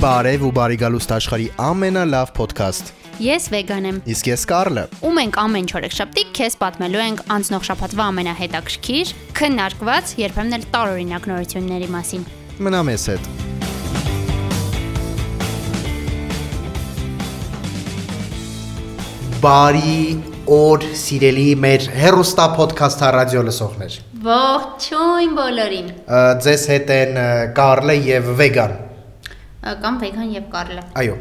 Բարև ու բարի գալուստ աշխարի ամենալավ podcast։ Ես վեգան եմ։ Իսկ ես Կարլը։ Ու մենք ամեն չորեքշաբթի քեզ պատմելու ենք անցնող շաբաթվա ամենահետաքրքիր, քննարկված, երբեմն էլ տարօրինակ նորությունների մասին։ Մնա մեզ հետ։ Բարի օր, սիրելի մեր հերոստա podcast-ա ռադիո լսողներ։ Ողջույն բոլորին։ Ա, Ձեզ հետ են ը, Կարլը եւ Վեգան։ Ա, Կամ վեգան եւ Կարլը։ Այո։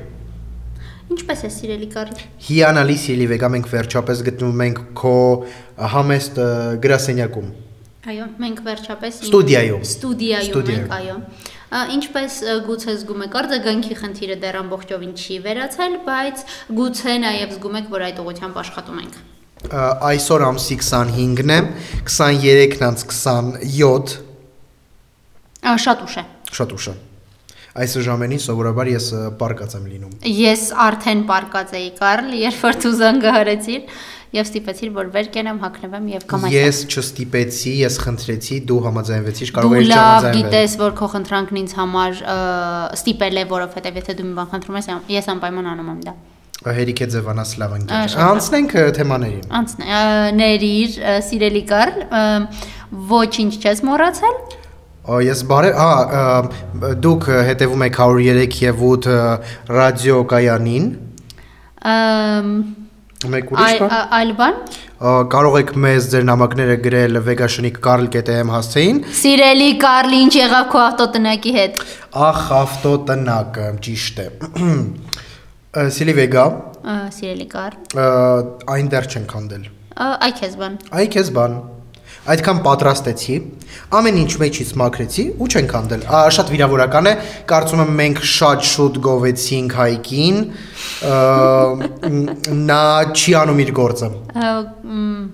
Ինչպես է սիրելի Կարլ։ Հիանալի սիրելի Վեգա, մենք վերջապես գտնվում ենք քո համեստ ը, գրասենյակում։ Այո, մենք վերջապես իմ- Ստուդիայում։ Ստուդիայում Ստուդիայում։ ենք, այո։ Ա, Ինչպես ը, գուցե զգում եք, արձագանքի խնդիրը դեռ ամբողջովին չի վերացել, բայց գուցե նաև զգում եք, որ այդ ուղությամբ աշխատում ենք։ Ա, Այսօր ամսի 25-ն է, 23-ն անց 27, Ա, Շատ ուշ է։ շատ ուշ է։ Այս ժամանին սովորաբար ես ը, պարկած եմ լինում։ Ես արդեն պարկած էի Կարլ, երբ որ դու զանգահարեցիր եւ ստիպեցիր, որ վեր կենամ, հակնվեմ եւ կամ այդպես։ Ես չստիպեցի, ես խնդրեցի, դու համաձայնվեցիր, կարող Դու ես լավ չհամաձայնվել։ գիտես, որ քո խնդրանքն ինձ համար ը, ստիպել է, որովհետեւ եթե դու մի բան խնդրում ես, ամ- ես անպայման անում եմ դա։ Հերիք է ձևանաս լավ Ա, ընկեր։ շատ լավ։ Անցնենք ը, թեմաներին։ Անցն ը, ներիր, ը, սիրելի Կարլ, ը, ոչինչ չես մոռացել։ Ա, Ես բարև, հա, ը, դուք ը, հետևում եք 103 եւ 8 ը, ռադիոկայանին։ Ամ, Մեկ այ- ուրիշ բան։ ա- Այլ բան։ Ա, Կարող եք մեզ ձեր նամակները գրել vegashenik.karl.am հասցեին։ Սիրելի Կարլ, ինչ եղավ քո ավտոտնակի հետ։ Ախ, ավտոտնակը, ճիշտ է։ Ա, Սիլի Վեգա, Ա, Սիրելի Կարլ, ա, այն դեռ չենք հանդել։ ը, այ քեզ բան։ Այ քեզ բան։ Այդքան պատրաստեցի, ամեն ինչ մեջից մաքրեցի ու չենք հանդել։ Ա, Շատ վիրավորական է, կարծում եմ մենք շատ շուտ գովեցինք հայկին։ ա, մ, Նա չի անում իր գործը։ Ա, մ,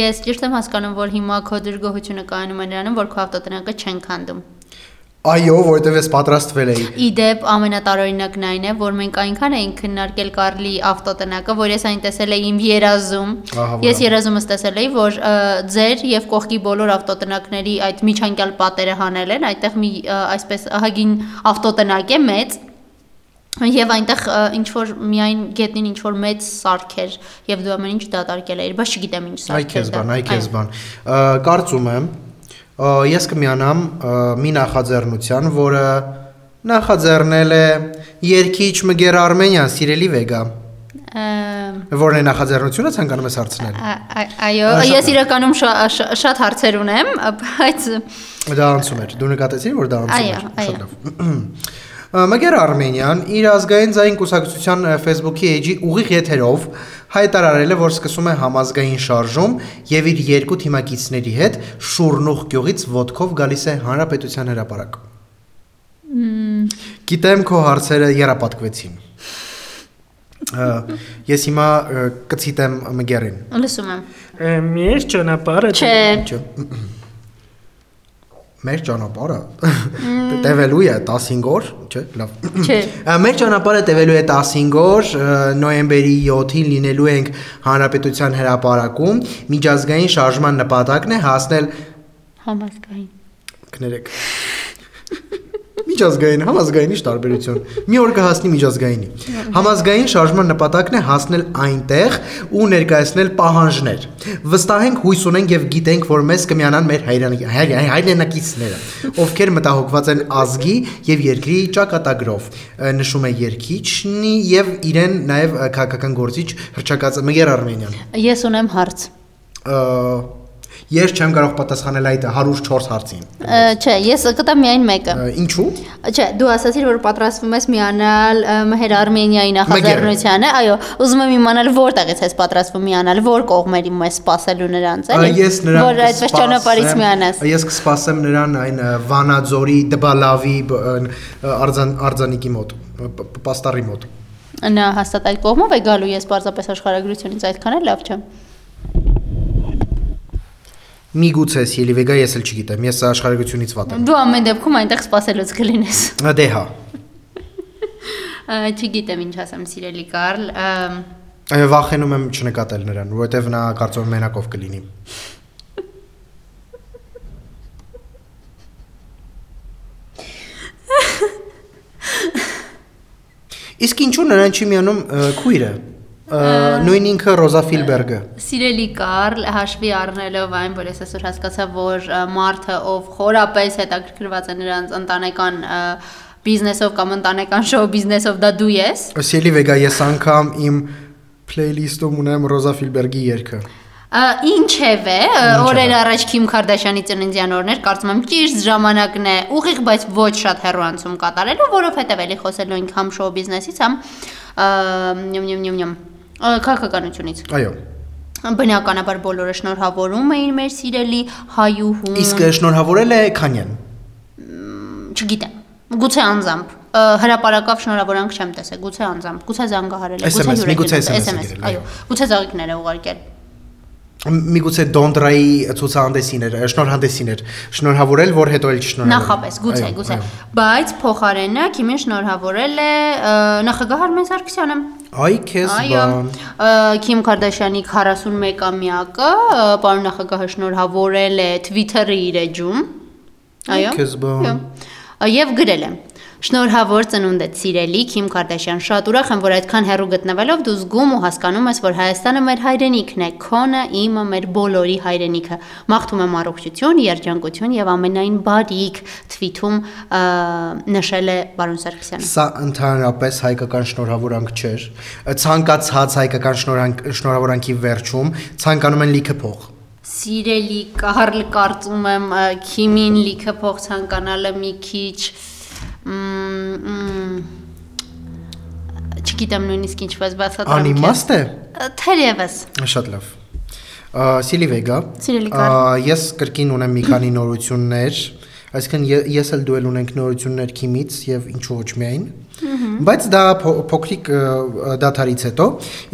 Ես ճիշտ եմ հասկանում, որ հիմա քո դժգոհությունը կայանում է նրանում, որ քո ավտոտնակը չեն քանդում։ Այո, որովհետև ես պատրաստվել էի։ Իդեպ ամենատարօրինակն այն է, որ մենք այնքան էինք քննարկել Կարլի ավտոտնակը, որ ես այն տեսել էի իմ երազում։ Ահա, Ես որը։ երազումս տեսել էի, որ ը, ձեր եւ կողքի բոլոր ավտոտնակների այդ միջանկյալ պատերը հանել են, այդտեղ մի ը, այսպես ահագին ավտոտնակ է մեծ։ Եվ այնտեղ ինչ որ միայն գետնին ինչ որ մեծ սարք էր եւ դու ամեն ինչ դատարկել էիր, բայց չգիտեմ ինչ Այ սարք էր։ քեզ դա։ բան, այ քեզ Այո։ բան։ Ա, Կարծում եմ ա, ես կմիանամ ա, մի նախաձեռնության, որը նախաձեռնել է Երկիչ Մգեր Արմենյան, սիրելի Վեգա, Ամ, որն է նախաձեռնությունը ցանկանում ես հարցնել։ ա- ա- Այո, Ա, շատ ես լավ։ իրականում շա- շա- շատ հարցեր ունեմ, բայց Դա անցում էր։ Դու նկատեցիր, որ դա Այո, անցում էր։ այո։ Շատ լավ։ Ա, Մգեր Արմենյան իր ազգային ձայն կուսակցության ա, Facebook-ի էջի ուղիղ եթերով հայտարարել է, որ սկսում է համազգային շարժում եւ իր երկու թիմակիցների հետ Շուրնուխ գյուղից ոդկով գալիս է հանրապետության հրապարակ։ Գիտեմ քո հարցերը երապատկվեցին։ Ա, Ես հիմա ա, կցիտեմ Մգերին։ լսում եմ։ Մեր ճանապարհը Չէ, Ինչո՞։ Մեր ճանապարհը տևելու է 15 օր, չէ՞, լավ։ չէ։ Ա, Մեր ճանապարհը տևելու է 15 օր, ը, նոյեմբերի 7-ին լինելու ենք Հանրապետության հրապարակում։ Միջազգային շարժման նպատակն է հասնել Համազգային։ կներեք։ Միջազգային, համազգային ի՞նչ տարբերություն։ Մի օր կհասնի միջազգայինի։ Համազգային շարժման նպատակն է հասնել այնտեղ ու ներկայացնել պահանջներ։ Վստահենք, հույս ունենք եւ գիտենք, որ մեզ կմիանան մեր հայրենի- հայ- հայ- հայրենակիցները, ովքեր մտահոգված են ազգի եւ երկրի ճակատագրով։ ը, Նշում է երկիչնի եւ իրեն նաեւ ը, քաղաքական գործիչ հրճակած Մգեր Արմենյան։ Ես ունեմ հարց։ Ա, Ես չեմ կարող պատասխանել այդ 104 հարցին։ Ա, Չէ, ես կտամ միայն մեկը։ Ա, Ինչու՞։ Չէ, դու ասացիր, որ պատրաստվում ես միանալ ը, Մհեր Արմենիայի նախաձեռնությանը։ Այո, ուզում եմ իմանալ որտեղից ես պատրաստվում միանալ, որ կողմերի մեզ սпасելու նրանց, Ա, էլի։ Ես նրան որ այդպես կսպասեմ, ճանապարհից միանաս։ Ես կսպասեմ նրան այն ը, Վանաձորի Դբալավի բ- այն, ը, արձան արձանիկի մոտ, ը, п- п- պաստառի մոտ։ Նա հաստատ այդ կողմով է գալու, ես պարզապես աշխարհագրությունից այդքան էլ լավ չեմ։ Միգուցե Սիլիվեգա ես էլ չգիտեմ, ես աշխարհագրությունից վատ եմ։ Դու ամեն դեպքում այնտեղ սпасելուց կլինես։ Ա, Դե հա։ Ա, Չգիտեմ ինչ ասեմ, սիրելի Կարլ։ ըմ, ա, Վախենում եմ չնկատել նրան, որովհետև նա կարծում եմ մենակով կլինի։ Իսկ ինչու նրան չի միանում ը, քույրը։ Ը, Նույն ինքը Ռոզա Ֆիլբերգը։ Սիրելի Կարլ, հաշվի առնելով այն, որ ես այսօր հասկացա, որ ը, մարդը, ով խորապես հետաքրքրված է նրանց ընտանեկան ը, բիզնեսով կամ ընտանեկան շոու բիզնեսով, դա դու ես։ Սելի Վեգա, ես անգամ իմ playlist-ում ունեմ Ռոզա Ֆիլբերգի երգը։ ը, Ինչևէ, ը, օրեր առաջ Քիմ Քարդաշյանի ծննդյան օրն էր, կարծում եմ ճիշտ ժամանակն է, ուղիղ, բայց ոչ շատ հեռանցում կատարելու, որովհետև էլի խոսելու ենք համ շոու բիզնեսից, համ ը, նյմ նյմ նյմ նյմ ը, քաղաքականությունից։ Այո։ Բնականաբար բոլորը շնորհավորում էին մեր սիրելի հայուհուն։ Իսկ ը, շնորհավորել է Քանյան։ չգիտեմ, գուցե անձամբ ը, հրապարակավ շնորհավորանք չեմ տեսել, գուցե անձամբ, գուցե զանգահարել, է, SMS, հյուրեր միգուցե գնել, SMS SMS, գրել, այո, գուցե զանգիկներ է ուղարկել։ Միգուցե Դոնդրայի ցուցահանդեսին էր, ը, շնորհանդեսին էր շնորհավորել, որ հետո էլ չշնորհավորի։ Նախապես, գուցե, Այո, գուցե։ այո։ Բայց փոխարենը Քիմին շնորհավորել է ը, նախագահ Արմեն Սարգսյանը։ Այ քեզ Այո, բան։ ը, Քիմ Քարդաշյանի 41-ամյակը ը, պարոն նախագահը շնորհավորել է Twitter-ի իր էջում։ Այո։ Քեզ բան։ Այո։ Եվ գրել եմ. Շնորհավոր ծնունդ է սիրելի Քիմ Կարդաշյան։ Շատ ուրախ եմ, որ այդքան հեռու գտնվելով դու զգում ու հասկանում ես, որ Հայաստանը մեր հայրենիքն է, քոնը իմը մեր բոլորի հայրենիքը։ Մաղթում եմ առողջություն, երջանկություն եւ ամենայն բարիք։ Թվիթում ը, նշել է Բարոն Սարգսյանը։ Սա ընդհանրապես հայկական շնորհավորանք չէր։ Ցանկացած հայկական շնորհանք շնորհավորանքի վերջում ցանկանում են լիքը փող։ Սիրելի Կարլ, կարծում եմ ը, Քիմին լիքը փող ցանկանալը մի քիչ մ, մ, չգիտեմ նույնիսկ ինչպես բացատրեմ։ քեզ։ Անիմաստ է։ Ա, Թերևս Շատ լավ։ Սիլի Վեգա։ Սիրելի ա, Ես կրկին ունեմ մի քանի նորություններ, այսինքն ե- ես էլ դու էլ ունենք նորություններ քիմից եւ ինչու ոչ միայն։ Բայց դա փո- փոքրիկ ը, ը, դաթարից հետո,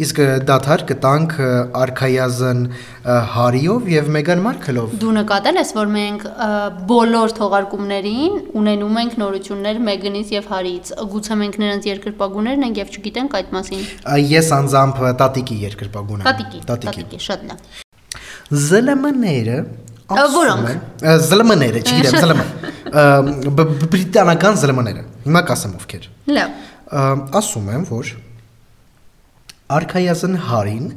իսկ ը, դաթար կտանք ը, արքայազն ը, Հարիով եւ Մեգան Մարկլով։ դու նկատել ես, որ մենք ը, բոլոր թողարկումներին ունենում ենք նորություններ Մեգնից եւ Հարից։ Գուցե մենք նրանց երկրպագուներն ենք եւ չգիտենք այդ մասին։ Ա, Ես անձամբ ը, տատիկի երկրպագուն եմ։ Տատիկի, տատիկի, շատ լավ։ ԶԼՄ-ները ասում Որոնք? են, ը, ԶԼՄ-ները, չգիտեմ, ԶԼՄ։ ը, բ- Բրիտանական ԶԼՄ-ները։ Հիմա կասեմ ովքեր։ Լավ։ Ա, ասում եմ, որ Արքայազն Հարին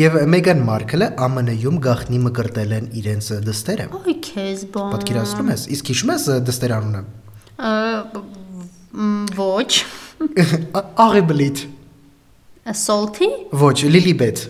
եւ Մեգան Մարկլը ԱՄՆ-յում գախնի մկրտել են իրենց դստերը։ Ոյ քեզ բան։ Պատկերացնում ես, իսկ հիշում ես դստերանունը։ Ա, բ- մ, Ոչ։ Աղեբլիթ։ Salty։ Ոչ, Լիլիբեթ։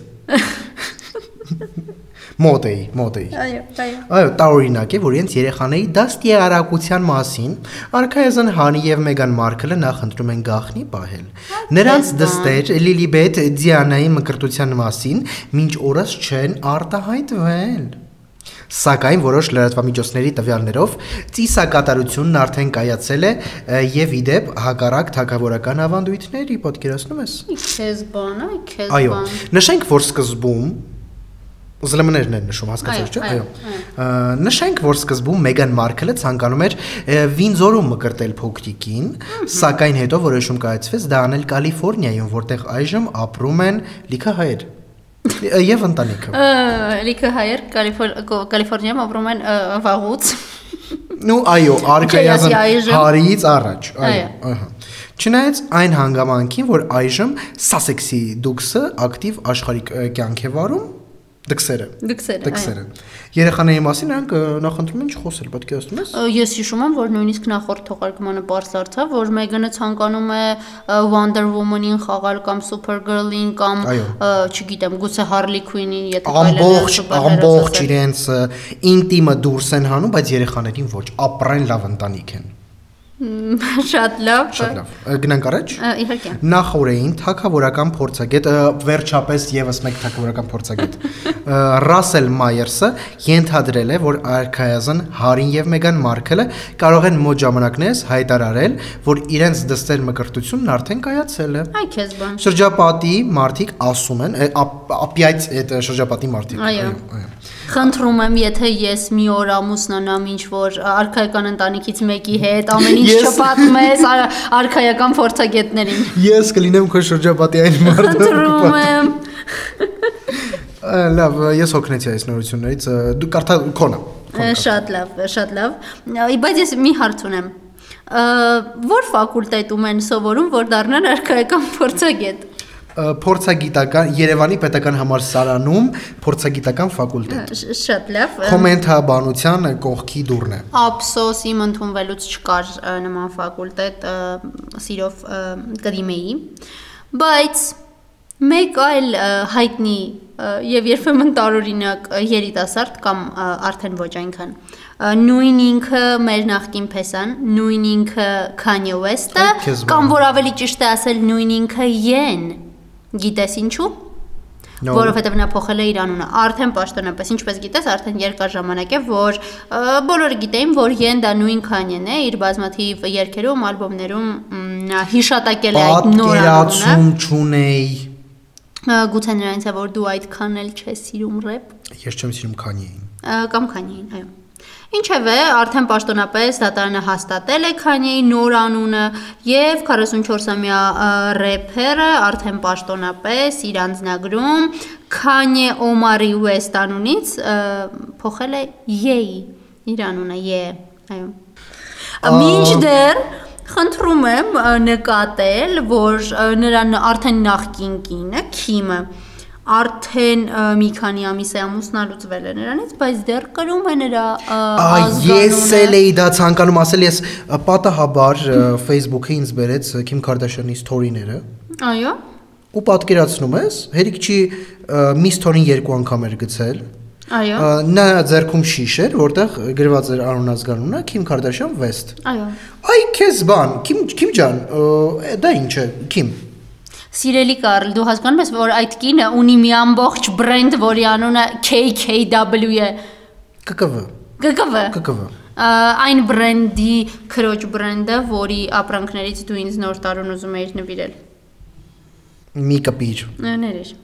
Մոտեի, մոտեի։ Այո, այո։ Այո, դա օրինակ է, որ իրենց երեխաների դաստի արագության մասին Արքայազն Հանի եւ Մեգան Մարկլը նախընտրում են գախնի պահել։ Նրանց դստեր Լիլիբեթ Դիանայի մկրտության մասին մինչ օրս չեն արտահայտվել։ Սակայն որոշ լրատվամիջոցների տվյալներով ծիսակատարությունն արդեն կայացել է ը, եւ իդեպ հակառակ թակավորական ավանդույթների պատկերացնում ես։ Ոյ քեզ բան, ոյ քեզ Այո, բան։ նշենք, որ սկզբում ԶԼՄ-ներն են նշում, հասկացա՞ր, չէ՞։ Այո, Այո։ Ա, Նշենք, որ սկզբում Մեգան Մարկլը ցանկանում էր ը, Վինզորում մկրտել փոքրիկին, սակայն հետո որոշում կայացվեց դա անել Կալիֆոռնիայում, որտեղ այժմ ապրում են լիքը հայեր ը, եւ ընտանիքը։ Ա, Լիքը հայեր Կալիֆոր- Կո- Կալիֆոռնիայում ապրում են ը, վաղուց։ Ну, այո, ասի արքայազն այժմ։ հարից առաջ, Այո. այո, ահա։ Չնայած այն հանգամանքին, որ այժմ Sussex-ի դուքսը ակտիվ աշխարհիկ ը, կյանք է վարում, դքսերը։ Դքսերը, այո։ Տեքսերը։ Երեխաների մասին նրանք ը, նախընտրում են չխոսել, պատկերացնում ես։ Ա, Ես հիշում եմ, որ նույնիսկ նախորդ թողարկմանը բարձ դարձավ, որ Մեգանը ցանկանում է ա, Wonder Woman-ին խաղալ կամ Supergirl-ին կամ Այո։ ա, չգիտեմ, գուցե Harley Quinn-ին, եթե Ամբողջ սուպերհերոս ամբողջ ասել։ իրենց ը, ինտիմը դուրս են հանում, բայց երեխաներին ոչ, ապրեն լավ ընտանիք են։ Շատ լավ։ Շատ լավ։ Ը, Գնանք առաջ։ ա, Իհարկե։ Նախորդին թակավորական փորձագետ ը, վերջապես եւս մեկ թակավորական փորձագետ ը, Ռասել Մայերսը ենթադրել է, որ Արքայազն Հարին եւ Մեգան Մարկելը կարող են մոտ ժամանակներս հայտարարել, որ իրենց դստեր մկրտությունն արդեն կայացել է։ Այ քեզ բան։ Շրջապատի մարդիկ ասում են, ա- ա- ապիայից այդ ա, շրջապատի մարդիկ։ Այո. այո։ Խնդրում եմ, եթե ես մի օր ամուսնանամ ինչ որ արխայական ընտանիքից մեկի հետ, ամեն ինչ Ես- չպատմես ար- արխայական փորձագետներին։ Ես կլինեմ քո շրջապատի այն մարդը։ Խնդրում եմ։ Ա, Լավ, ես հոգնեցի այս նորություններից։ ա, Դու կարդա քոնը։ Շատ լավ, շատ լավ։ Ի, Բայց ես մի հարց ունեմ։ Ա, Որ ֆակուլտետում են սովորում, որ դառնան արքայական փորձագետ։ Ա, Փորձագիտական Երևանի Պետական Համալսարանում փորձագիտական ֆակուլտետ։ Շ- Շատ լավ։ Կոմենթաբանության կողքի դուրն է։ Ափսոս իմ ընդունվելուց չկար ա, նման ֆակուլտետ, ա, սիրով ա, կդիմեի։ Բայց մեկ այլ ա, հայտնի ա, եւ երբեմն տարօրինակ ա, երիտասարդ կամ ա, արդեն ոչ այնքան ա, նույն ինքը մեր նախկին փեսան, նույն ինքը Kanye West-ը Այ քեզ կամ մանա։ որ ավելի ճիշտ է ասել նույն ինքը Yen։ Գիտես ինչու՞։ Նո։ Որովհետև նա փոխել է իր անունը։ Արդեն պաշտոնապես, ինչպես գիտես, արդեն երկար ժամանակ է, որ ը, բոլորը գիտեին, որ Յենդա նույն Քանյեն է իր բազմաթիվ երգերում, ալբոմներում մ, նա հիշատակել է այդ նոր անունը։ Պատկերացում չունեի։ Ը, Գուցե նրանից է, որ դու այդքան էլ չես սիրում рэփ Ես չեմ սիրում քանիին։ ը, կամ Քանյեին, այո։ Ինչևէ, արդեն պաշտոնապես դատարանը հաստատել է Քանյեի նոր անունը եւ 44-ամյա ը, рэփերը արդեն պաշտոնապես իր անձնագրում Քանյե Օմարի Ուեստ անունից ը, փոխել է Յեի իր անունը Ե, այո։ Մինչդեռ խնդրում եմ ը, նկատել, որ ը, նրան արդեն նախկին կինը Քիմը արդեն ը, մի քանի ամիս է ամուսնալուծվել է նրանից, բայց դեռ կրում է նրա ը, Ա ես ազգանունը։ էլ էի դա ցանկանում ասել, ես ա, պատահաբար ա, Facebook-ը ինձ բերեց ա, Kim Kardashian-ի սթորիները Այո։ ու պատկերացնում ես, հերիք չի ա, Miss Thorne-ին երկու անգամ էր գցել։ Այո։ ա, Նա ձերքում շիշ էր, որտեղ գրված էր անունազգանունը Kim Kardashian West։ Այո։ Այ քեզ բան, Kim Kim ջան, ա, դա ինչ է, Kim։ Սիրելի Կարլ, դու հասկանում ես, որ այդ կինը ունի մի ամբողջ բրենդ, որի անունը KKW է։ ԿԿՎ, ԳԿՎ։ ԿԿՎ։ Ա, այն բրենդի քրոջ բրենդը, որի ապրանքներից դու ինձ նոր տարուն ուզում էիր նվիրել։ Մի կպիջ։ Ա, Ներիր։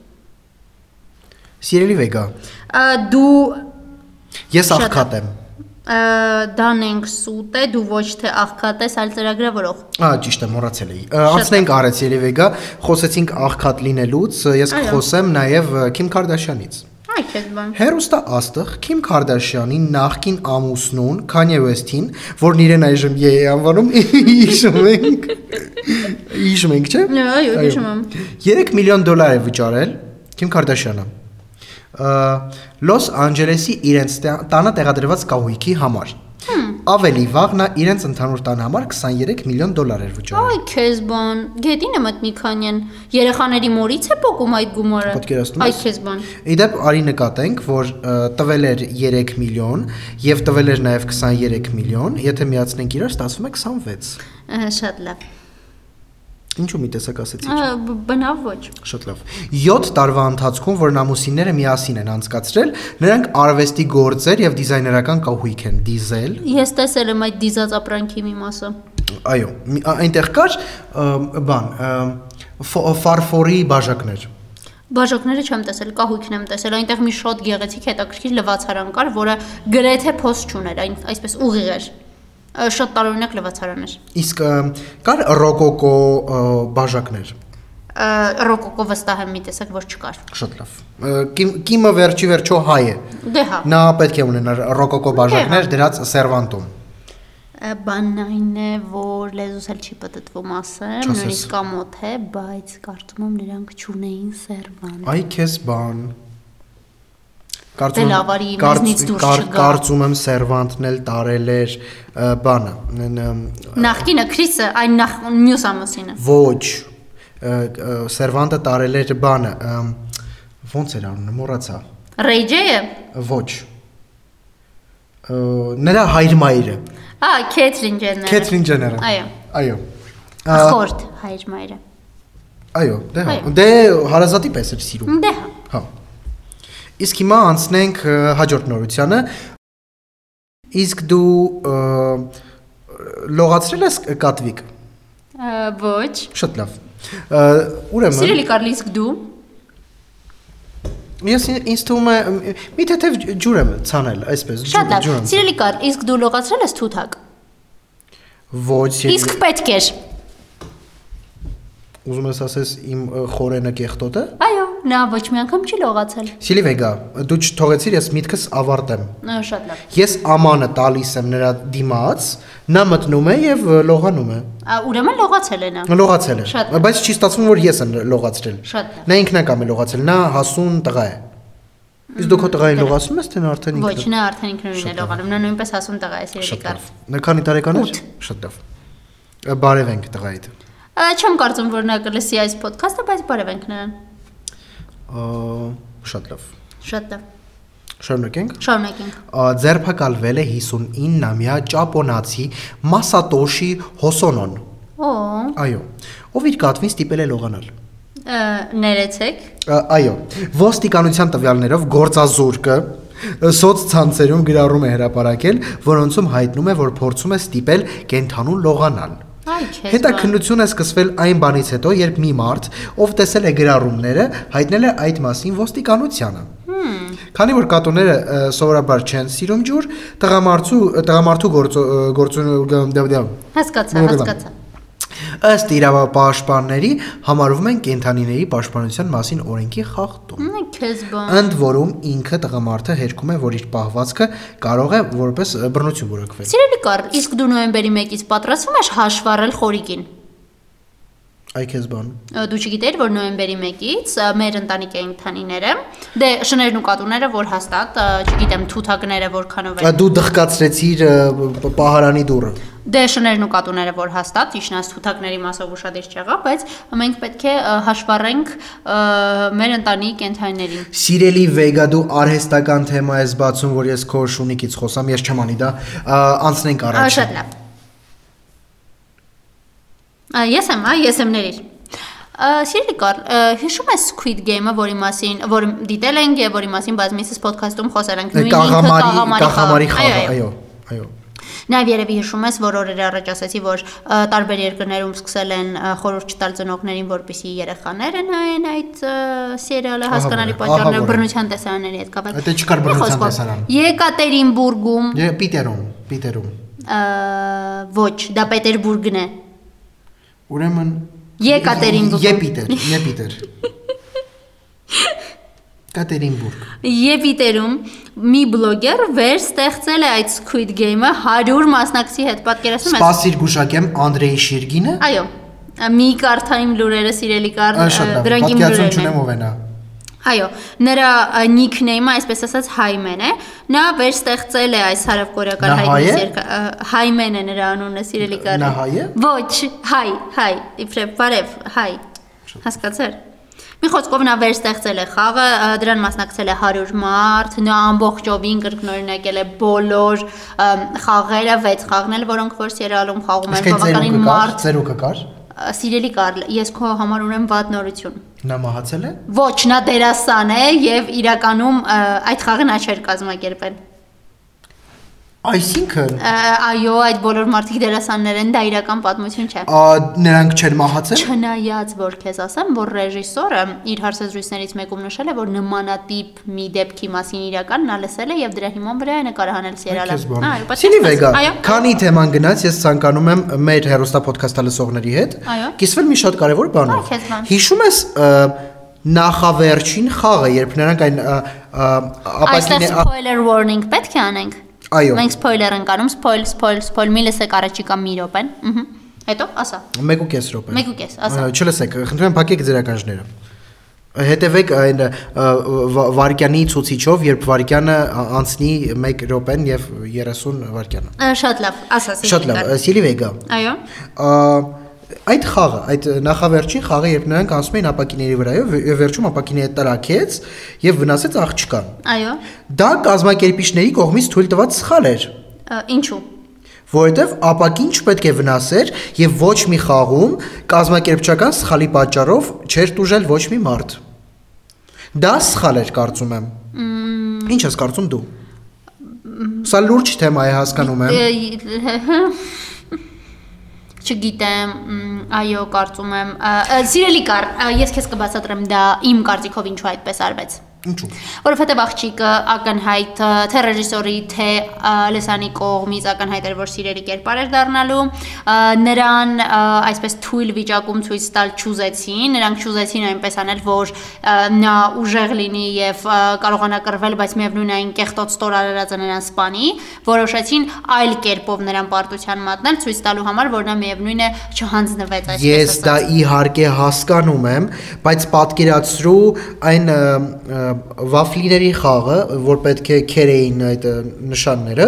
Սիրելի Վեգա, Ա, Դու ես Շատ աղքատ եմ։ ա, դանենք սուտ է, դու ոչ թե աղքատես, այլ ծրագրավորող։ Ա, ճիշտ է, մոռացել էի։ Ա, Անցնենք արեց Երևեգա, խոսեցինք աղքատ լինելուց, ես Այո։ կխոսեմ նաև ա, Քիմ Քարդաշյանից։ Այ քեզ բան։ Հերոստա աստղ Քիմ Քարդաշյանի նախկին ամուսնուն Քանյե Վեսթին, որն իրեն այժմ ԵԵ անվանում, հիշում ենք։ Հիշում ենք, չէ՞։ Այո, այո, հիշում եմ։ 3 միլիոն դոլար է վճարել Քիմ Քարդաշյանը։ Ա, Լոս Անջելեսի իրենց տա- տանը տեղադրված կահույքի համար։ Ավելի վաղ նա իրենց ընդհանուր տան համար 23 միլիոն դոլար էր վճարել։ Այ քեզ բան։ Գետինը մտնի քանյան։ Երեխաների մորից է փոկում այդ գումարը։ Պատկերացնում Այ ես։ քեզ բան։ Իդեպ արի նկատենք, որ ը, տվել էր 3 միլիոն եւ տվել էր նաեւ 23 միլիոն, եթե միացնենք իրար ստացվում է 26։ Ա, Շատ լավ։ Ինչու մի տեսակ ասեցի։ Ա, բ- Բնավ ոչ։ Շատ լավ։ 7 տարվա ընթացքում, որ նամուսինները միասին են անցկացրել, նրանք արվեստի գործեր եւ դիզայներական կահույք են դիզել։ Ես տեսել եմ այդ դիզած ապրանքի մի մասը։ Այո, մի- ա- այնտեղ կար ը, բան, ը, ֆո- ֆարֆորի բաժակներ։ Բաժակները չեմ տեսել, կահույքն եմ տեսել։ Այնտեղ մի շատ գեղեցիկ հետաքրքիր լվացարան կար, որը գրեթե փոս չուներ, այն այսպես ուղիղ էր։ Ա, Շատ տարօրինակ լվացարան էր։ Իսկ ը, կար ռոկոկո ը, բաժակներ։ Ա, Ռոկոկո վստահ եմ մի տեսակ որ չկար։ Շատ լավ։ Ը, Կիմ- Կիմը վերջի վերջո հայ է։ Դե հա։ Նա պետք է ունենար Դե, ռոկոկո բաժակներ դրած սերվանտում։ Ա, Բանն այն է, որ լեզուս էլ չի պատտվում ասեմ, Չասես։ նույնիսկ ամոթ է, բայց կարծում եմ նրանք չունեին սերվան։ Այ քեզ բան։ Դե լավ, արի, կարծ- մեզնից դուրս կար- չգա։ կարծում եմ սերվանտն էլ տարել էր ը, բանը։ ն- ն- Նախկինը Քրիսը, այն նախ մյուս ամուսինը։ Ոչ։ ը, ը, Սերվանտը տարել էր բանը։ ըմ, Ոնց էր անունը, մոռացա։ Ռեյջեը։ Ոչ։ Ը, Նրա հայր մայրը, Ա, Քեթրին Ջենները։ Քեթրին Ջեները։ Հա։ Այո։ Այո։ Ա, Խորտ հայր մայրը։ Այո, դե հա։ Այո։ Դե հարազատի պես էր սիրում։ Դե հա։ Հա։ Իսկ հիմա անցնենք ը, հաջորդ նորությանը։ Իսկ դու ը, լողացրել ես կատվիկ։ Ա, Ոչ։ Շատ լավ։ Ը, Ուրեմն Սիրելի Կարլիս, դու ես ին- ինձ թվում է մ- միթե թե ջ- ջուր եմ ցանել, այսպես Շատ լավ։ ջուր եմ ցանել։ Սիրելի կար, իսկ դու լողացրել ես թութակ։ Ոչ, ես Իսկ պետք էր։ ուզում ես ասես իմ ը, խորենը կեղտոտը։ Այո։ նա ոչ մի անգամ չի լողացել։ Սիլի Վեգա, դու չթողեցիր ես միտքս ավարտեմ։ Նա շատ լավ։ Ես ամանը տալիս եմ նրա դիմաց, նա մտնում է եւ ը, լողանում է։ Ա, Ուրեմն լողացել է նա։ Հա։ Լողացել է։ Շատ լավ։ Բայց չի ստացվում, որ ես եմ լողացրել։ Շատ լավ։ Նա ինքն է կամ է լողացել, նա հասուն տղա է։ Իսկ դու քո տղային լողացնում ես, թե նա արդեն Ոչ, ինքն է։ նա արդեն ինքնուրույն է լողանում, նա նույնպես հասուն տղա է սիրելի Շատ կար։ լավ։ Նա քանի տարեկան է։ Ութ։ Շատ լավ։ Ա, Բարև ենք տղայիդ։ Ա, Չեմ կարծում, որ նա կլսի այս ոդքասթը, բայց բարև ենք նրան։ Ա, Շատ լավ։ Շատ լավ։ Շարունակենք։ Շարունակենք։ Ա, ձերբակալվել է 59-ամյա ճապոնացի Մասատոշի Հոսոնոն։ Օ, Այո, ով իր կատվին ստիպել է լողանալ։ ա, ներեցեք։ Ա, Այո, ոստիկանության տվյալներով գործազուրկը սոցցանցերում գրառում է հրապարակել, որոնցում հայտնում է, որ փորձում է ստիպել կենթանուն լողանալ։ Այ չէ։ Հետաքննությունը սկսվել այն բանից հետո, երբ մի մարդ, ով տեսել է գրառումները, հայտնել է այդ մասին ոստիկանությանը։ Քանի որ կատուները ը, սովորաբար չեն սիրում ջուր, տղամարդու տղամարդու գործո- ը, գործունեության դեպքում Հասկացա, Ուրեմն։ հասկացա։ դե, ըստ իրավապաշտպանների համարվում են կենթանիների պաշտպանության մասին օրենքի խախտում։ Նա քեզ բան։ Ընդ որում ինքը տղամարդը հերքում է, որ իր պահվածքը կարող է որպես ը, բռնություն որակվել։ Սիրելի կար, իսկ դու նոյեմբերի 1-ից պատրաստվում ես հաշվառել խորիկին։ Այ քեզ բան։ Ա, Դու չգիտեիր, որ նոյեմբերի 1-ից ա, մեր ընտանիքի ընտանիները, դե շներն ու կատուները, որ հաստատ, ա, չգիտեմ, թութակները որքանով Ա, են։ Դու դխկացրեցիր ը, պ- պահարանի դուռը։ Դե շներն ու կատուները, որ հաստատ իշնաս թութակների մասով ուրشادիր չեղա, բայց մենք պետք է ա, հաշվառենք ա, մեր ընտանիքի ընտանիներին։ Սիրելի Վեգա, դու արհեստական թեմա ես բացում, որ ես քո շունիկից խոսամ, ես չեմ անի դա։ Ա, Անցնենք Ա, առաջ։ Շատ լավ։ Ա, Ես եմ, այ ես եմ ներիր։ Ա, Սիրելի Կարլ, ա, հիշում ես Squid Game-ը, որի մասին, որ դիտել ենք եւ որի մասին բազմիցս podcast-ում խոսել ենք։ նույն ինքը Կաղամարի, կաղամարի խաղ- խաղը, այո, այո։ Նաև երևի հիշում ես, որ օրեր առաջ ասացի, որ ա, տարբեր երկրներում սկսել են ա, խորհուրդ չտալ ծնողներին, որպիսի երեխաները նայեն այդ ա, սերիալը, Ահա որ է, հասկանալի ահա պատճառները որ է։ բռնության տեսարանների հետ կապված։ Այդ է չկար բռնության Խոսքով, տեսարան։ Եկատերինբուրգում, Դե Պիտերում, Պիտերում։ ա, ոչ, դա Պետերբուրգն է։ Ուրեմն Եկատերինբուրգ։ Եպիտեր, Եպիտեր։ Կատերինբուրգ։ Եվիտերում մի բլոգեր վերստեղծել է այդ Squid Game-ը 100 մասնակցի հետ, պատկերացնում ես։ Սպասիր գուշակեմ Անդրեյ Շիրգինը։ Այո։ Մի կարթային լուրերը սիրելի կար, Ա, Շատ լավ։ դրանք իմ Պատկերացում լուրերն չունեմ են։ ով է նա։ Այո, նրա ա, նիքնեյմը, այսպես ասած, Հայմեն է։ Նա վերստեղծել է այս հարավկորեական Նա հայ է? հայտնի երկը Հայմեն է նրա անունը, սիրելի կար։ Նա հայ է։ Ոչ, հայ, հայ, իբրև բարև, հայ։ Հասկացար։ Մի խոսքով նա վերստեղծել է խաղը, ա, դրան մասնակցել է 100 մարդ, նա ամբողջովին կրկնօրինակել է բոլոր ամ, խաղերը, 6 խաղն էլ, որոնք որ սերիալում խաղում են Իսկ այդ բավականին ծերուկը կար, մարդ։ ծերուկը կար։ Ա, Սիրելի Կարլ, ես քո համար ունեմ վատ նորություն։ Նա մահացել է։ Ոչ, նա դերասան է եւ իրականում ա, այդ խաղը նա չէր կազմակերպել։ Այսինքն Ա, Այո, այդ բոլոր մարդիկ դերասաններ են, դա իրական պատմություն չէ։ ա, նրանք չեն մահացել։ Չնայած որ քեզ ասեմ, որ ռեժիսորը իր հարցազրույցներից մեկում նշել է, որ նմանատիպ մի դեպքի մասին իրական նա լսել է եւ դրա հիման վրա է նկարահանել սերիալը։ Քեզ բան։ Այո, Սիրի պատկերացնես։ Վեգա, Այո։ քանի թեման գնաց, ես ցանկանում եմ մեր հերոստա ոդքասթը լսողների հետ Այո։ կիսվել մի շատ կարևոր Այ, բանով։ քեզ բան։ Հիշում ես ը, նախավերջին խաղը, երբ նրանք այն ը, ը, Այստեղ ապակին ա- spoiler warning պետք է անենք։ Այո։ Մենք spoiler ենք անում, spoil, spoil, spoil, մի լսեք առաջիկա մի րոպեն։ Ահա։ Հետո ասա։ 1.5 րոպե։ Մեկ ու կես, ասա։ Ա, Չլսեք, խնդրում եմ փակեք ձեր ականջները։ Հետևեք այն ա, վա- վարկյանի ցուցիչով, երբ վարկյանը ա, անցնի 1 րոպեն եւ 30 վարկյանը։ Ա, Շատ լավ, ասա։ Սիրելի Շատ լավ, Կարլ։ Սիլի Վեգա։ Այո։ Ա, այդ խաղը, այդ նախավերջին խաղը, երբ նրանք ասում էին ապակիների վրայով, վե- վերջում ապակիները տրակեց եւ վնասեց աղջկան։ Այո։ Դա կազմակերպիչների կողմից թույլ տված սխալ էր, Ա, Ինչու։ որովհետեւ ապակին չպետք է վնասեր եւ ոչ մի խաղում կազմակերպչական սխալի պատճառով չէր դուժել ոչ մի մարդ։ Դա սխալ էր, կարծում եմ։ Ինչ ես կարծում դու։ Սա լուրջ թեմա է, հասկանում եմ։ Ա, հա։ Չգիտեմ, մ, այո, կարծում եմ, ա, ա, սիրելի կար, ա, ես քեզ կբացատրեմ դա իմ կարծիքով ինչու այդպես արվեց։ Ինչու։ Որովհետև աղջիկը ակնհայտ ա, թե ռեժիսորի, թե ա, լեսանի կողմից ակնհայտ էր, որ սիրելի կերպար էր դառնալու, ա, նրան ա, այսպես թույլ վիճակում ցույց տալ չուզեցին, նրանք չուզեցին այնպես անել, որ ա, նա ուժեղ լինի եւ ա, կարողանա կռվել, բայց միևնույն է այն կեղտոտ ստոր արարածը նրան սպանի, որոշեցին այլ կերպով նրան պարտության մատնել, ցույց տալու համար, որ նա միևնույն է չհանձնվեց այսպես։ Ես դա իհարկե հասկանում եմ, բայց պատկերացրու այն ը, ը, վաֆլիների խաղը, որ պետք է քերեին այդ ը, նշանները,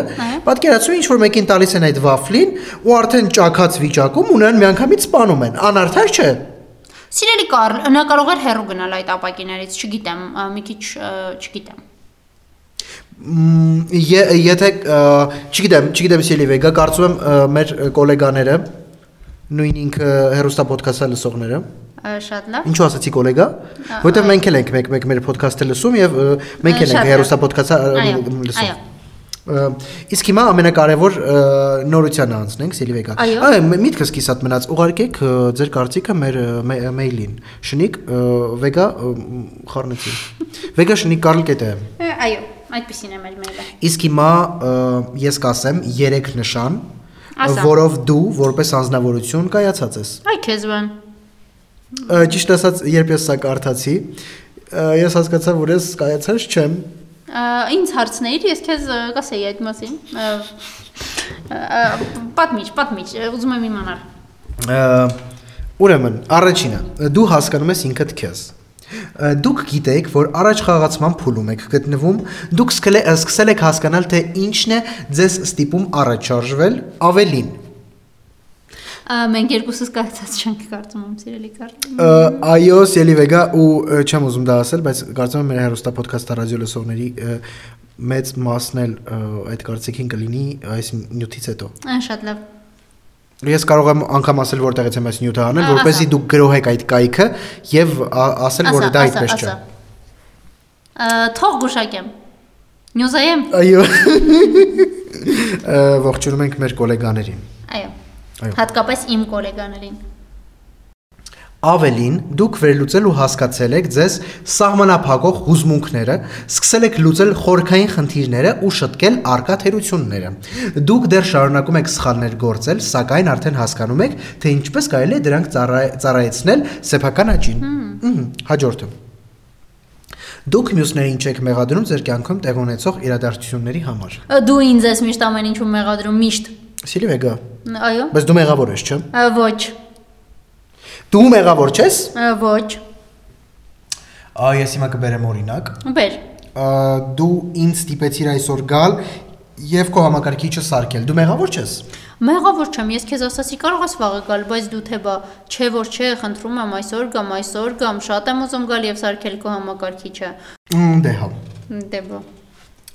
պատկերացրու ինչ որ մեկին տալիս են այդ վաֆլին ու արդեն ճակած վիճակում ունեն միանգամից սպանում են։ Անարդար չէ։ Սիրելի Կարլ, նա կարող էր հեռու գնալ այդ ապակիներից, չգիտեմ, ա, մի քիչ ա, չգիտեմ։ Մմ, ե- Եթե ը, չգիտեմ, չգիտեմ Սիլի Վեգա, կարծում եմ ը, մեր գոլեգաները նույն ինքը հերոստա ոդքասթը լսողները Ա, Շատ լավ։ Ինչու ասացի գոլեգա? Որտեղ մենք էլ ենք մեկ մեկ մեր ոդքասթը լսում եւ ը, մենք էլ Շատ ենք լավ։ հերոստա ոդքասթը Այո, լսում։ այո։ Ա, Իսկ հիմա ամենակարևոր ը, նորությանը անցնենք Սիլվեգա։ Այո։ մ- միտքս կիսատ մնաց ուղարկեք ը, ձեր կարծիքը մեր ը, մե- մեյլին։ Շնիկ ը, Վեգա խառնեցի։ Վեգա շնիկ կարլ.կետը։ Ա, Այո, այդպեսին է մեր մեկը։ Իսկ հիմա ը, ես կասեմ 3 նշան, Ասա։ որով դու որպես անznավորություն կայացած ես։ Այ քեզվան։ Ա, Ճիշտ ասած, երբ ես սա կարդացի, ա, ես հասկացա, որ ես կայացած չեմ։ Ինչ հարցնեիր, ես քեզ ա, կասեի այդ մասին։ Ա, ա, Պատմիչ, պատմիչ, ա, ուզում եմ իմանալ։ Ա, Ուրեմն, առաջինը, դու հասկանում ես ինքդ քեզ։ Ա, Դուք գիտեք, որ առաջ խաղացման փուլում եք գտնվում, դուք սկսել եք սկսել եք հասկանալ, թե ինչն է ձեզ ստիպում առաջ շարժվել ավելին։ Ա, Մենք երկուսս կայացած չենք կարծում, իմ սիրելի Կարլ։ Ա, Այո, Սելիվեգա ու ա, չեմ ուզում դա ասել, բայց կարծում եմ մեր հերոստա ոդքասթը ռադիո լսողների ա, մեծ մասն էլ ա, այդ կարծիքին կլինի այս նյութից հետո։ Ա, Շատ լավ։ Ես կարող եմ անգամ ասել որտեղից եմ այս նյութը անել, Ա, որպեսզի ասա։ դուք գրոհեք այդ կայքը եւ ա, ասել, որ Ասա, դա ասա, այդպես չէ։ ասա։ Ա, Թող գուշակեմ։ Նյուզայեմ։ Այո։ Ա, Ողջունում ենք մեր գոլեգաներին։ Այո։ Այո։ Հատկապես իմ գոլեգաներին։ Ավելին, դուք վերլուծել ու հասկացել եք ձեզ սահմանափակող հուզմունքները, սկսել եք լուծել խորքային խնդիրները ու շտկել արկա թերությունները։ Դուք դեռ շարունակում եք սխալներ գործել, սակայն արդեն հասկանում եք, թե ինչպես կարելի է դրանք ծառայ- ծառայեցնել սեփական աճին։ Ահա, հաջորդը։ Դուք մյուսներին չեք մեղադրում ձեր կյանքում տեղ ունեցող իրադարձությունների համար։ Ա, Դու ինձ ես միշտ ամեն ինչում մեղադրում, միշտ։ Սիլվեգա, Ն- Այո։ բայց դու մեղավոր ես, չէ՞։ Ա, Ոչ, Դու մեղավոր ես։ ա, ոչ։ Ա, ես հիմա կբերեմ օրինակ։ Բեր։ Ա, դու ինձ ստիպեցիր այսօր գալ եւ քո համակարգիչը սարքել։ Դու մեղավոր ես։ Մեղավոր չեմ, ես քեզ ասացի կարող ես վաղը գալ, բայց դու թե բա, չէ որ չէ, խնդրում եմ այսօր կամ այսօր կամ շատ եմ ուզում գալ եւ սարքել քո համակարգիչը։ Մմ, Դե հա։ Դե բա։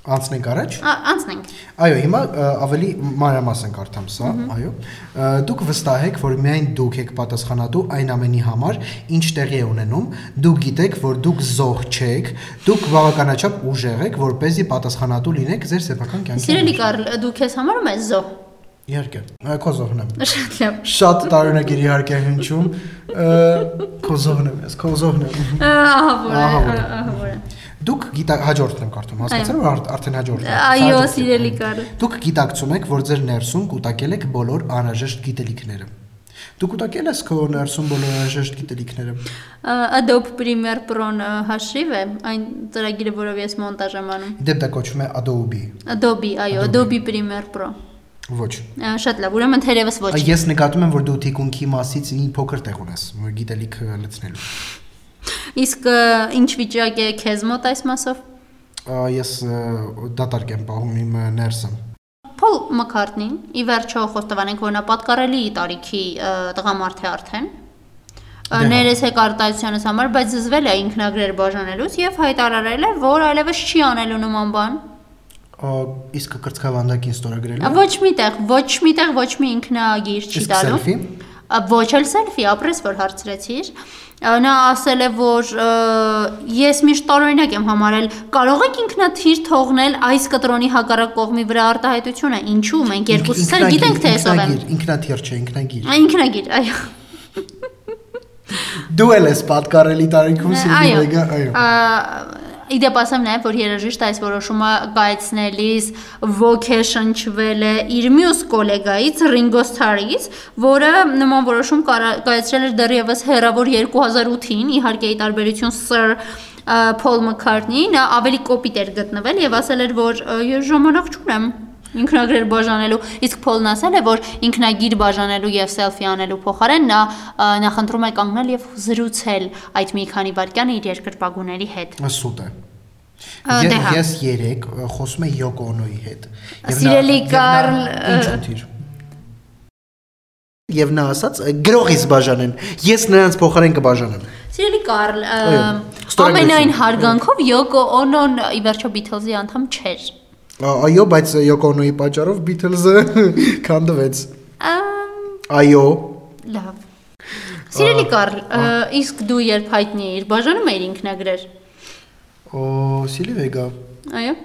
Անցնենք առաջ։ Ա, Անցնենք։ Այո, հիմա ա, ավելի մանրամասն կարդամ սա, այո։ Ա, Դուք վստահ եք, որ միայն դուք եք պատասխանատու այն ամենի համար, ինչ տեղի է ունենում։ Դուք գիտեք, որ դուք զոհ չեք, դուք բավականաչափ ուժեղ եք, որպեսզի պատասխանատու լինեք ձեր սեփական Սիրելի կյանքին։ Կարլ, դու քեզ համարում ես զո։ Իհարկե, ա, քո զոհն եմ։ Շատ լավ։ Շատ տարօրինակ իհարկե հնչում։ ա, Քո զոհն եմ, ես քո զոհն եմ։ Ա, Ահա որ է, Ահա որ է։ ա, ահա որ է։ Դուք գիտա հաջորդն եմ կարդում, հասկացա՞ր որ արդ- արդեն հաջորդն է։ Այո, Հաջորդն է։ սիրելի Կարլ։ Դուք գիտակցում եք, որ ձեր ներսում կուտակել եք բոլոր անհրաժեշտ գիտելիքները։ Դու կուտակել ես քո ներսում բոլոր անհրաժեշտ գիտելիքները։ Ա, Adobe Premiere Pro-ն ա, հաշիվ է, այն ծրագիրը, որով ես մոնտաժ եմ անում։ Իդեպ դա կոչվում է Adobe։ Adobe, այո, Adobe Premiere Pro։ Ոչ։ Ա, Շատ լավ, ուրեմն թերևս ոչ։ Ա, Ես նկատում եմ, որ դու թիկունքի մասից մի փոքր տեղ ունես, որ գիտելիք ը, լցնելու։ Իսկ ը, ինչ վիճակ է քեզ մոտ այս մասով։ Ա, Ես ը, դատարկ եմ պահում իմ ը, ներսը։ Փոլ Մակարտնին ի վերջո խոստովանենք, որ նա պատկառելի տարիքի ը, տղամարդ է արդեն։ Դե հա։ Ներես է կարտացիոնս համար, բայց զզվել է ինքնագրեր բաժանելուց եւ հայտարարել է, որ այլևս չի անելու նման բան։ Ա, Իսկ կրծքավանդակին Ա, ստորագրելու։ Ոչ միտեղ, ոչ միտեղ, ոչ մի ինքնագիր չի Հա։ Իսկ տալու։ սելֆի։ Ա, Ոչ էլ սելֆի, ապրես որ հարցրեցիր։ Ա, Նա ասել է, որ ը, ես միշտ տարօրինակ եմ համարել, կարող եք ինքնաթիր թողնել այս կտրոնի հակառակ կողմի վրա արտահայտությունը։ Ինչու՞ մենք երկուսս էլ գիտենք թե եսով եմ։ Ինքնաթիռ չէ, ինքնագիր։ Ա, Ինքնագիր, այո։ Դու ել ես պատկառելի տարիքում Այո։ Սիլվեգա, այո։ Ա, Իդեպ ասեմ նաև որ երաժիշտը այս որոշումը կայացնելիս ոգեշնչվել է իր մյուս գոլեգայից Ռինգո Ստարից, որը նման որոշում կարա- կայացրել էր դեռևս հերավոր 2008-ին, իհարկե ի տարբերություն Sir ա, Paul McCartney-ի նա ավելի կոպիտ էր գտնվել եւ ասել էր որ «Ա, ես ժամանակ չունեմ ինքնագրեր բաժանելու իսկ Փոլն ասել է որ ինքնագիր բաժանելու եւ սելֆի անելու փոխարեն նա ա, նախընտրում է կանգնել եւ զրուցել այդ մի քանի վայրկյանը իր երկրպագուների հետ սուտ է։ Ա, Ես- դե հա։ Ես 3 խոսում եմ Յոկո Օնոյի հետ։ Եվ նա- Սիրելի և նա- Կարլ, ինչ ը- ուտիր։ Եվ նա ասաց, գրողից բաժանեն։ Ես նրանց փոխարեն կբաժանեմ։ Սիրելի Կարլ, ը, Այո, ստորագրություն։ ամենայն հարգանքով Յոկո Օնոն ի վերջո Beatles-ի անդամ չէր։ Ա, Այո, բայց Յոկո Օնոյի պատճառով Beatles-ը քանդվեց։ Ամ, Այո։ Լավ։ Սիրելի Կարլ, ը, իսկ դու երբ հայտնի էիր, բաժանում էիր ինքնագրեր։ Օ, Սիլվեգա։ Այո։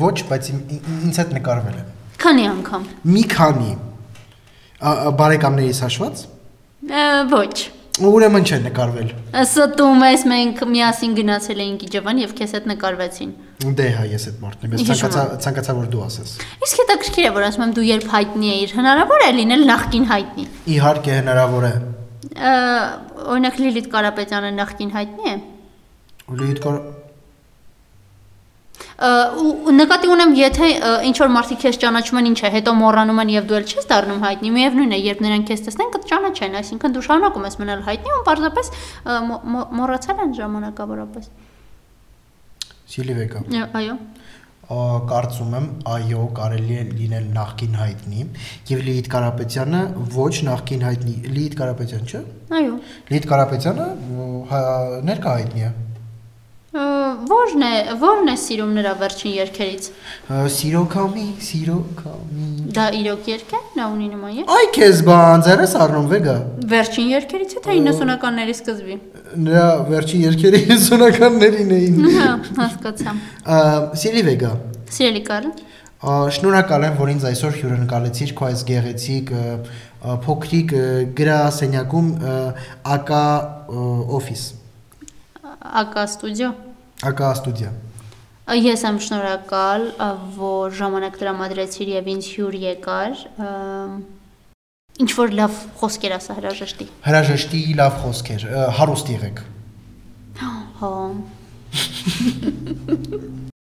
Ոչ, բայց իմ- ին- ինձ հետ նկարվել է։ Քանի անգամ։ Մի քանի ա, ա, բարեկամներից հաշված, Ա, Ոչ։ ուրեմն չէ նկարվել։ Ստում ես մենք միասին գնացել էինք Իջևան եւ քեզ հետ նկարվեցին։ Դե հա, ես այդ մարդն եմ։ Ես Հիշում ցանկացա եմ։ ցանկացա որ դու ասես։ Իսկ հետաքրքիր է, որ ասում եմ դու երբ հայտնի էիր, հնարավոր է լինել նախքին հայտնի։ Իհարկե հնարավոր է։ Ա, Օրինակ Լիլիթ Կարապետյանը նախքին հայտնի է։ Լույդ կար Ա, ու ու նկատի ունեմ, եթե ինչ որ մարդիկ քեզ ճանաչում են, ինչ է, հետո մոռանում են եւ դու էլ չես դառնում հայտնի, միևնույն է, երբ նրանք քեզ տեսնեն, կճանաչեն, այսինքն դու շարունակում ես մնալ հայտնի ու պարզապես ա, մո- մո- մոռացել են ժամանակավորապես։ Սիլվեգա։ Ա, Այո։ Ա, կարծում եմ այո կարելի է լինել նախքին հայտնի եւ Լիլիթ Կարապետյանը ոչ նախքին հայտնի Լիլիթ Կարապետյան չէ Այո։ Լիլիթ Կարապետյանը ո, հա- ներկա հայտնի է Ա, Ո՞րն է, ո՞րն է սիրում նրա վերջին երկերից։ Ա, սիրո կամի սիրո կամի Դա իրոք երկ է, նա ունի նման երկ։ Այ քեզ բան ձերս առնում վեգա Վերջին երկերից է թե 90-ականների սկզբի։ նրա վերջի երկերի 50-ականներին էին Հա, հասկացա։ Ա, Սիլվեգա Սիրելի Կարլ, Ա, Շնորհակալ եմ, որ ինձ այսօր հյուրընկալեցիր քո այս գեղեցիկ ը, ը, փոքրիկ ը, գրասենյակում ը, ակա ը, օֆիս, ԱԿ ստուդիո։ ակա ստուդիա։ Ես եմ շնորհակալ, ա, որ ժամանակ դրամադրեցիր եւ ինձ հյուր եկար։ Ինչ որ լավ խոսքեր ասա հրաժեշտի։ Հրաժեշտի լավ խոսքեր, ը, հարուստ եղեք։ Հա։